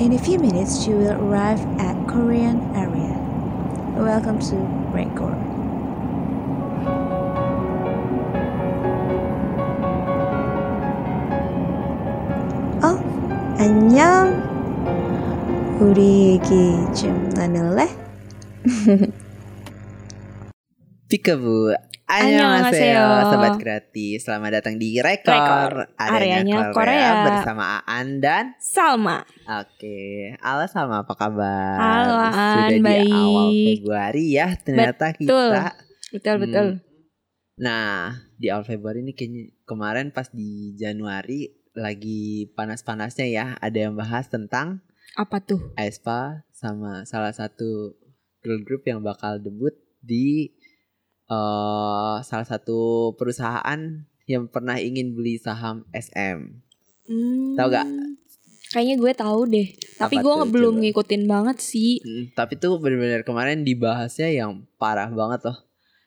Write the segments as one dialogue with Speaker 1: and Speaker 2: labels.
Speaker 1: In a few minutes, you will arrive at Korean area. Welcome to Record. 어, Oh, 안녕. 우리 얘기 좀 나눌래?
Speaker 2: Pikabu,
Speaker 3: 안녕하세요.
Speaker 2: 안녕하세요 Sobat Kreatif Selamat datang di Rekor,
Speaker 3: Rekor, areanya
Speaker 2: Areanya Korea,
Speaker 3: Korea.
Speaker 2: Bersama Aan dan
Speaker 3: Salma.
Speaker 2: Oke Ala sama apa kabar?
Speaker 3: Halo, Aan,
Speaker 2: Sudah di awal
Speaker 3: baik.
Speaker 2: Februari ya Ternyata kita Hmm.
Speaker 3: Betul betul.
Speaker 2: Nah di awal Februari ini kayaknya Kemarin pas di Januari Lagi panas-panasnya ya Ada yang bahas tentang
Speaker 3: Apa tuh?
Speaker 2: Aespa sama salah satu girl group yang bakal debut di eh, salah satu perusahaan yang pernah ingin beli saham SM.
Speaker 3: Hmm,
Speaker 2: Tahu gak?
Speaker 3: Kayaknya gue tahu deh. Tapi
Speaker 2: Apa
Speaker 3: gue
Speaker 2: tuh,
Speaker 3: nge- belum
Speaker 2: coba?
Speaker 3: ngikutin banget sih.
Speaker 2: Mm, tapi tuh bener-bener kemarin dibahasnya yang parah banget loh.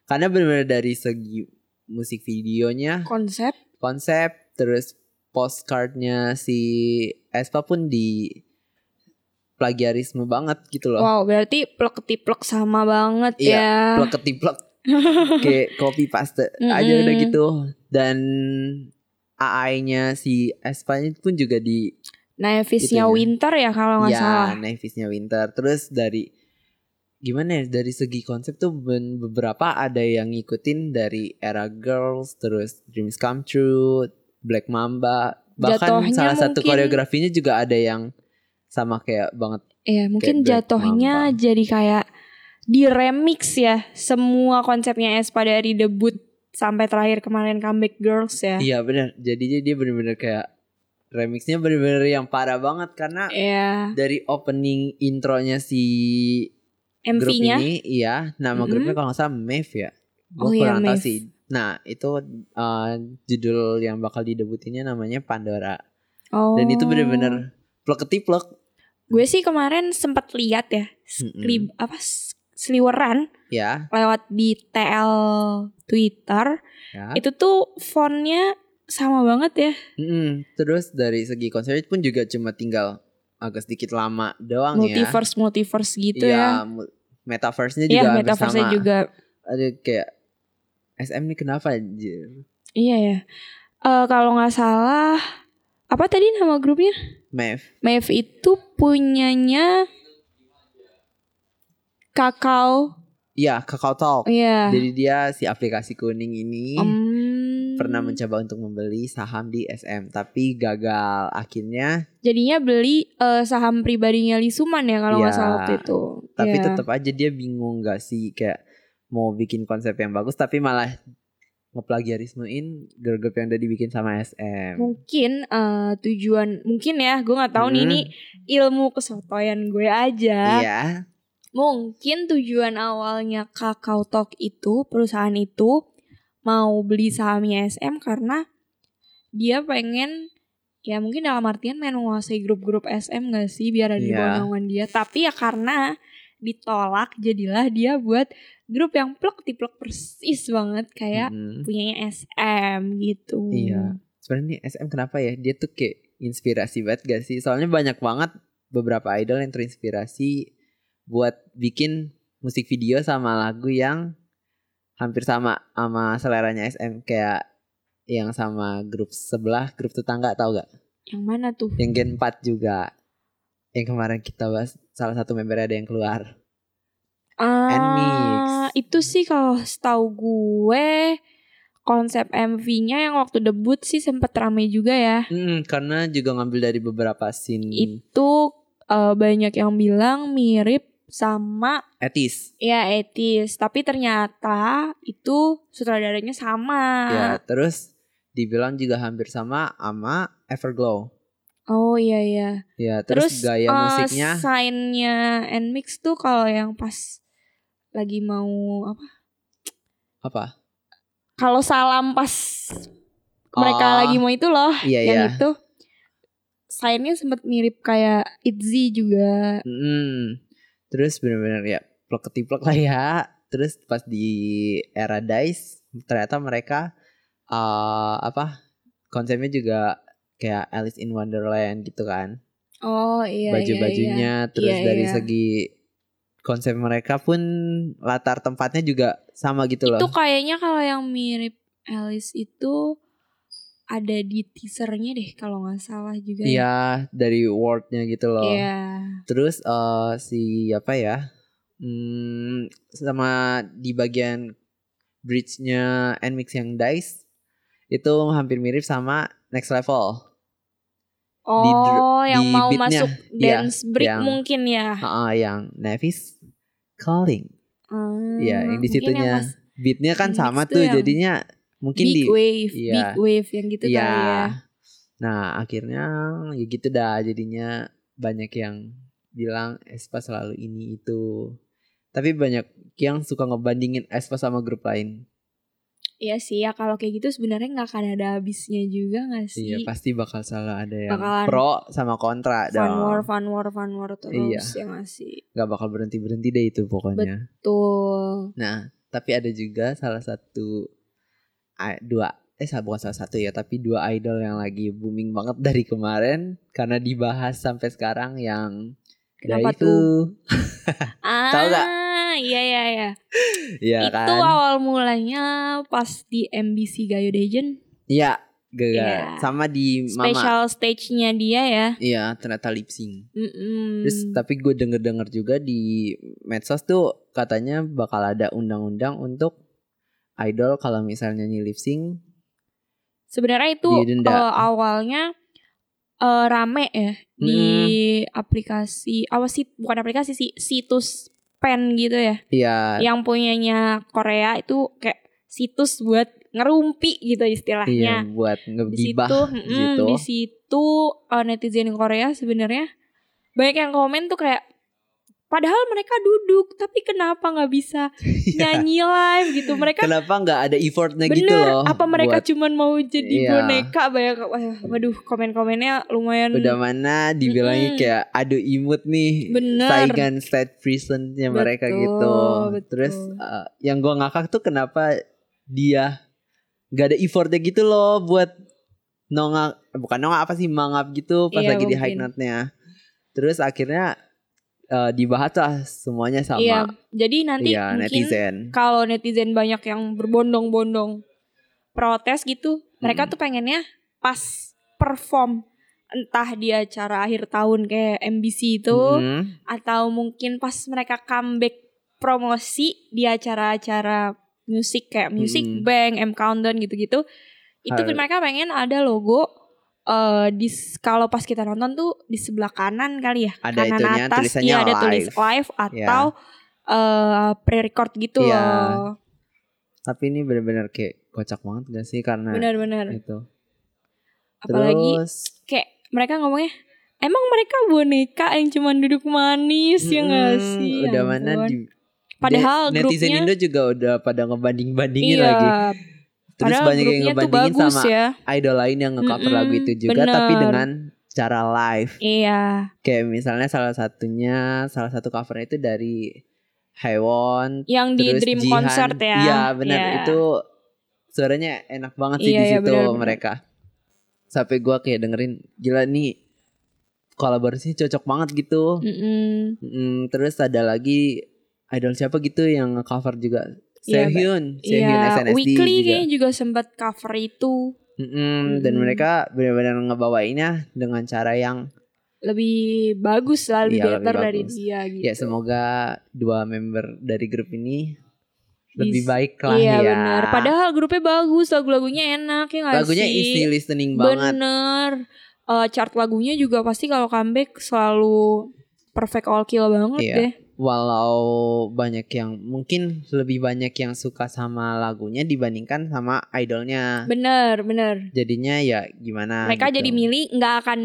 Speaker 2: Karena bener-bener dari segi musik videonya,
Speaker 3: Konsep
Speaker 2: konsep, terus postcardnya si Aespa pun di plagiarisme banget gitu loh.
Speaker 3: Wow, berarti plek-tiplek sama banget
Speaker 2: Iya,
Speaker 3: ya.
Speaker 2: plek ketiplek kayak copy paste aja
Speaker 3: Mm-mm.
Speaker 2: udah gitu dan AI-nya si Aspanya pun juga di
Speaker 3: Nevisnya
Speaker 2: Gitu ya.
Speaker 3: Winter ya kalau nggak salah.
Speaker 2: ya Nevisnya Winter terus dari gimana ya dari segi konsep tuh ben- beberapa ada yang ngikutin dari era girls terus dreams come true black mamba bahkan
Speaker 3: Jatohnya
Speaker 2: salah satu
Speaker 3: mungkin-
Speaker 2: koreografinya juga ada yang sama kayak banget
Speaker 3: Iya, mungkin
Speaker 2: Black
Speaker 3: jatuhnya
Speaker 2: Mamba.
Speaker 3: jadi kayak di remix ya semua konsepnya Aespa dari debut sampai terakhir kemarin comeback girls ya.
Speaker 2: iya benar jadinya dia bener-bener kayak remixnya bener-bener yang parah banget karena
Speaker 3: Iya,
Speaker 2: dari opening intronya si grup
Speaker 3: MV-nya
Speaker 2: ini iya nama
Speaker 3: Mm-mm.
Speaker 2: grupnya kalau nggak salah Mev ya gue
Speaker 3: Oh iya,
Speaker 2: kurang tahu
Speaker 3: Mev.
Speaker 2: sih nah itu uh, judul yang bakal didebutinnya namanya Pandora
Speaker 3: Oh.
Speaker 2: dan itu bener-bener pleketi plek
Speaker 3: Gue sih kemarin sempat lihat ya, skrib apa s- seliweran
Speaker 2: ya
Speaker 3: lewat di TL Twitter.
Speaker 2: ya
Speaker 3: Itu tuh fontnya sama banget ya.
Speaker 2: Mm-mm. terus dari segi konsep pun juga cuma tinggal agak sedikit lama doang ya
Speaker 3: multiverse multiverse gitu
Speaker 2: Iya, mu- metaverse-nya
Speaker 3: ya. Iya,
Speaker 2: juga hampir
Speaker 3: metaverse-nya
Speaker 2: sama
Speaker 3: juga.
Speaker 2: ada kayak SM ini kenapa anjir?
Speaker 3: Iya ya. Eh, kalau nggak salah apa tadi nama grupnya?
Speaker 2: Mev
Speaker 3: Mev itu punyanya Kakao.
Speaker 2: iya Kakao Talk
Speaker 3: Iya.
Speaker 2: Jadi dia si aplikasi kuning ini
Speaker 3: Hmm.
Speaker 2: pernah mencoba untuk membeli saham di SM tapi gagal. Akhirnya
Speaker 3: Jadinya beli eh, saham pribadinya Lisuman ya kalau nggak
Speaker 2: Iya.
Speaker 3: salah waktu itu.
Speaker 2: tapi
Speaker 3: Iya.
Speaker 2: tetap aja dia bingung gak sih kayak mau bikin konsep yang bagus tapi malah ngeplagiarismein girl group yang udah dibikin sama SM.
Speaker 3: mungkin eh, tujuan mungkin ya gue nggak tahu nih
Speaker 2: Hmm.
Speaker 3: ini ilmu kesotoyan gue aja
Speaker 2: Iya.
Speaker 3: mungkin tujuan awalnya Kakao Talk itu perusahaan itu mau beli sahamnya SM karena dia pengen ya mungkin dalam artian main menguasai grup-grup SM gak sih biar ada di
Speaker 2: Iya.
Speaker 3: bawah naungan dia tapi ya karena ditolak jadilah dia buat grup yang plek tiplek persis banget kayak
Speaker 2: Mm-mm.
Speaker 3: punyanya SM gitu
Speaker 2: Hmm. Iya. Sebenarnya nih SM kenapa ya? Dia tuh kayak inspirasi banget gak sih? Soalnya banyak banget beberapa idol yang terinspirasi buat bikin musik video sama lagu yang hampir sama sama seleranya SM kayak yang sama grup sebelah, grup tetangga tau gak?
Speaker 3: yang mana tuh
Speaker 2: Yang Gen 4 juga. Yang kemarin kita bahas salah satu member ada yang keluar. And mix.
Speaker 3: Ah, itu sih kalau setahu gue konsep MV-nya yang waktu debut sih sempet rame juga ya.
Speaker 2: Mm, karena juga ngambil dari beberapa scene
Speaker 3: Itu eh, banyak yang bilang mirip sama
Speaker 2: etis.
Speaker 3: ya etis, tapi ternyata itu sutradaranya sama.
Speaker 2: Ya, terus dibilang juga hampir sama sama Everglow.
Speaker 3: Oh iya iya.
Speaker 2: Ya, terus,
Speaker 3: Terus,
Speaker 2: gaya
Speaker 3: eh,
Speaker 2: musiknya
Speaker 3: Sign-nya and mix tuh kalau yang pas lagi mau apa?
Speaker 2: apa?
Speaker 3: Kalau salam pas mereka
Speaker 2: Ah,
Speaker 3: lagi mau itu loh.
Speaker 2: Iya,
Speaker 3: yang
Speaker 2: iya.
Speaker 3: itu sayangnya sempat mirip kayak Itzy juga
Speaker 2: Mm, terus bener-bener ya plek ketiplek lah ya. Terus pas di era Dice ternyata mereka eh apa? Konsepnya juga kayak Alice in Wonderland gitu kan.
Speaker 3: Oh iya iya,
Speaker 2: baju-bajunya terus
Speaker 3: Iya,
Speaker 2: dari
Speaker 3: iya.
Speaker 2: segi konsep mereka pun latar tempatnya juga sama gitu
Speaker 3: iya.
Speaker 2: loh
Speaker 3: Itu kayaknya kalau yang mirip Alice itu ada di teasernya deh kalau nggak salah juga. ya.
Speaker 2: Iya dari wordnya gitu loh
Speaker 3: Iya.
Speaker 2: terus eh, si apa ya hmm, sama di bagian bridge-nya Nmix yang dice itu hampir mirip sama next level dr-
Speaker 3: Oh, yang
Speaker 2: di
Speaker 3: mau
Speaker 2: beatnya.
Speaker 3: masuk
Speaker 2: Iya,
Speaker 3: dance break
Speaker 2: yang-
Speaker 3: mungkin ya.
Speaker 2: Ah, yang Nevis calling
Speaker 3: Hmm,
Speaker 2: Iya, yang di
Speaker 3: mungkin
Speaker 2: situnya.
Speaker 3: yang pas
Speaker 2: beatnya kan
Speaker 3: Nmix
Speaker 2: sama
Speaker 3: tuh
Speaker 2: tuh
Speaker 3: yang
Speaker 2: jadinya mungkin
Speaker 3: big
Speaker 2: di
Speaker 3: wave,
Speaker 2: iya.
Speaker 3: big wave yang gitu
Speaker 2: Iya.
Speaker 3: kali ya.
Speaker 2: Nah, akhirnya ya gitu dah jadinya banyak yang bilang Espa selalu ini itu. Tapi banyak yang suka ngebandingin Espa sama grup lain.
Speaker 3: Iya sih ya kalau kayak gitu sebenarnya nggak akan ada habisnya juga nggak sih?
Speaker 2: Iya, pasti bakal selalu ada yang
Speaker 3: Bakalan
Speaker 2: pro sama kontra
Speaker 3: Fun war,
Speaker 2: dong.
Speaker 3: fun war, fun war
Speaker 2: Iya.
Speaker 3: terus ya nggak sih?
Speaker 2: Gak bakal berhenti-berhenti deh itu pokoknya.
Speaker 3: Tuh.
Speaker 2: Nah, tapi ada juga salah satu a- dua eh sa- bukan salah satu ya, tapi dua idol yang lagi booming banget dari kemarin karena dibahas sampai sekarang yang ya
Speaker 3: Kenapa
Speaker 2: Daifu.
Speaker 3: tuh? Ah,
Speaker 2: Tahu nggak?
Speaker 3: iya iya iya.
Speaker 2: Iya
Speaker 3: itu
Speaker 2: kan?
Speaker 3: awal mulanya pas di MBC Gayo Degen
Speaker 2: Iya, gagal.
Speaker 3: Iya.
Speaker 2: Sama di Mama.
Speaker 3: special stage-nya dia ya.
Speaker 2: Iya, ternyata lip sync.
Speaker 3: Mm-mm.
Speaker 2: Terus tapi gue denger-denger juga di medsos tuh katanya bakal ada undang-undang untuk idol kalau misalnya nyi lip sync.
Speaker 3: Sebenarnya itu
Speaker 2: Didenda.
Speaker 3: eh, awalnya eh, rame ya di aplikasi awas sih bukan aplikasi sih situs pen gitu ya
Speaker 2: Iya,
Speaker 3: yang punyanya Korea itu kayak situs buat ngerumpi gitu
Speaker 2: iya
Speaker 3: istilahnya.
Speaker 2: buat
Speaker 3: Di
Speaker 2: ngegibah
Speaker 3: situ, mm,
Speaker 2: gitu.
Speaker 3: di situ eh, netizen Korea sebenarnya banyak yang komen tuh kayak padahal mereka duduk tapi kenapa nggak bisa
Speaker 2: Iya.
Speaker 3: nyanyi live gitu mereka
Speaker 2: Kenapa nggak ada effortnya
Speaker 3: bener
Speaker 2: gitu loh?
Speaker 3: apa mereka
Speaker 2: buat-
Speaker 3: cuman mau jadi
Speaker 2: Iya.
Speaker 3: boneka banyak wah, waduh komen-komennya lumayan
Speaker 2: udah mana dibilangin
Speaker 3: Mm-mm.
Speaker 2: kayak aduh imut nih
Speaker 3: Hmm. Bener.
Speaker 2: saingan state presentnya mereka
Speaker 3: Betul,
Speaker 2: gitu
Speaker 3: betul.
Speaker 2: terus eh, yang gua ngakak tuh kenapa dia nggak ada effortnya gitu loh buat nongak eh, bukan nongak apa sih mangap gitu pas
Speaker 3: Iya,
Speaker 2: lagi di
Speaker 3: mungkin.
Speaker 2: high note-nya terus akhirnya eh, dibahas lah semuanya sama
Speaker 3: iya jadi nanti
Speaker 2: Iya,
Speaker 3: mungkin
Speaker 2: netizen
Speaker 3: kalau netizen banyak yang berbondong-bondong protes gitu, mereka
Speaker 2: Mm.
Speaker 3: tuh pengennya pas perform entah di acara akhir tahun kayak MBC itu
Speaker 2: Mhm.
Speaker 3: atau mungkin pas mereka comeback promosi di acara-acara musik kayak Music
Speaker 2: Mm.
Speaker 3: Bank, M Countdown gitu-gitu. Itu
Speaker 2: Har-
Speaker 3: mereka pengen ada logo eh di s- kalau pas kita nonton tuh di sebelah kanan kali ya,
Speaker 2: Ada
Speaker 3: kanan
Speaker 2: itunya,
Speaker 3: atas
Speaker 2: tulisannya
Speaker 3: iya, ada tulis
Speaker 2: live.
Speaker 3: live atau eh pre-record gitu
Speaker 2: Iya.
Speaker 3: loh.
Speaker 2: tapi ini bener-bener kayak kocak banget gak sih karena
Speaker 3: Benar-benar.
Speaker 2: itu
Speaker 3: Apalagi
Speaker 2: terus
Speaker 3: kayak mereka ngomongnya emang mereka boneka yang cuman duduk manis ya nggak
Speaker 2: Mm-mm,
Speaker 3: sih?
Speaker 2: Hmm, Udah
Speaker 3: Ya
Speaker 2: mana
Speaker 3: ampun.
Speaker 2: di
Speaker 3: Padahal
Speaker 2: de- netizen
Speaker 3: grupnya-
Speaker 2: Indo juga udah pada ngebanding-bandingin
Speaker 3: Iya,
Speaker 2: lagi. Terus
Speaker 3: Padahal
Speaker 2: banyak yang
Speaker 3: grupnya tuh
Speaker 2: ngebandingin
Speaker 3: bagus
Speaker 2: sama
Speaker 3: ya.
Speaker 2: idol lain yang nge-cover
Speaker 3: Mm-mm,
Speaker 2: lagu itu juga tapi
Speaker 3: bener.
Speaker 2: dengan cara live.
Speaker 3: Iya.
Speaker 2: Kayak misalnya salah satunya salah satu covernya itu dari Haewon
Speaker 3: Yang di
Speaker 2: terus
Speaker 3: Dream
Speaker 2: Jihan.
Speaker 3: Concert ya.
Speaker 2: Iya, benar
Speaker 3: Iya.
Speaker 2: itu suaranya enak banget sih
Speaker 3: Iya,
Speaker 2: di
Speaker 3: iya,
Speaker 2: situ
Speaker 3: benar, benar.
Speaker 2: mereka. Sampai gua kayak dengerin gila nih kolaborasinya cocok banget gitu.
Speaker 3: Mm-mm.
Speaker 2: Mm, terus ada lagi idol siapa gitu yang cover juga.
Speaker 3: Iya,
Speaker 2: Sehyun,
Speaker 3: Iya,
Speaker 2: Sehyun SNSD
Speaker 3: weekly
Speaker 2: juga.
Speaker 3: kayaknya juga sempat cover itu
Speaker 2: Mm-mm, Dan
Speaker 3: Mm.
Speaker 2: mereka benar-benar ngebawainnya dengan cara yang
Speaker 3: lebih bagus lah,
Speaker 2: Iya,
Speaker 3: lebih
Speaker 2: lebih
Speaker 3: better dari
Speaker 2: bagus.
Speaker 3: dia gitu.
Speaker 2: ya semoga dua member dari grup ini lebih
Speaker 3: Bis-
Speaker 2: baik lah
Speaker 3: iya,
Speaker 2: ya.
Speaker 3: benar. Padahal grupnya bagus, lagu-lagunya enak ya nggak
Speaker 2: lagunya
Speaker 3: sih?
Speaker 2: easy listening banget.
Speaker 3: Bener. Eh, chart lagunya juga pasti kalau comeback selalu perfect all kill banget
Speaker 2: Iya.
Speaker 3: deh.
Speaker 2: Walau banyak yang mungkin lebih banyak yang suka sama lagunya dibandingkan sama idolnya.
Speaker 3: Bener, bener.
Speaker 2: Jadinya ya gimana?
Speaker 3: Mereka
Speaker 2: gitu.
Speaker 3: jadi milih nggak akan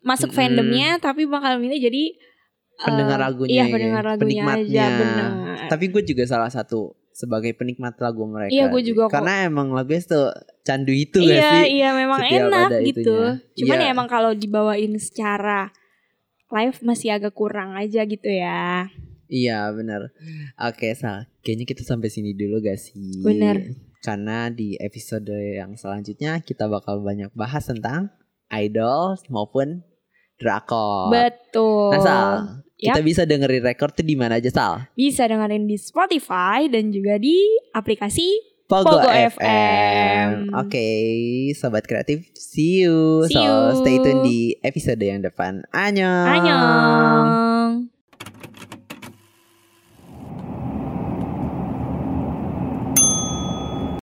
Speaker 3: masuk
Speaker 2: Mm-mm.
Speaker 3: fandomnya, tapi bakal milih jadi eh,
Speaker 2: Pendengar lagunya
Speaker 3: Iya,
Speaker 2: ya,
Speaker 3: pendengar lagunya
Speaker 2: penikmatnya.
Speaker 3: aja. Bener.
Speaker 2: Tapi gue juga salah satu sebagai penikmat lagu mereka.
Speaker 3: Iya, gue juga kok.
Speaker 2: Karena emang lagunya tuh candu itu gak
Speaker 3: iya,
Speaker 2: sih?
Speaker 3: iya memang
Speaker 2: Setiap
Speaker 3: enak
Speaker 2: ada
Speaker 3: gitu.
Speaker 2: itunya.
Speaker 3: Cuman
Speaker 2: Iya.
Speaker 3: ya emang kalau dibawain secara live masih agak kurang aja gitu ya.
Speaker 2: Iya, benar. Oke, Sal. Kayaknya kita sampai sini dulu gak sih?
Speaker 3: Benar.
Speaker 2: Karena di episode yang selanjutnya kita bakal banyak bahas tentang idol maupun drakor.
Speaker 3: Betul.
Speaker 2: Nah Sal,
Speaker 3: Yap.
Speaker 2: kita bisa dengerin rekor tuh di mana aja Sal?
Speaker 3: Bisa dengerin di Spotify dan juga di aplikasi
Speaker 2: Pogo,
Speaker 3: Pogo
Speaker 2: FM.
Speaker 3: FM.
Speaker 2: Oke, sobat kreatif, see you.
Speaker 3: See
Speaker 2: so
Speaker 3: you.
Speaker 2: stay tune di episode yang depan. Annyeong.
Speaker 3: Annyeong.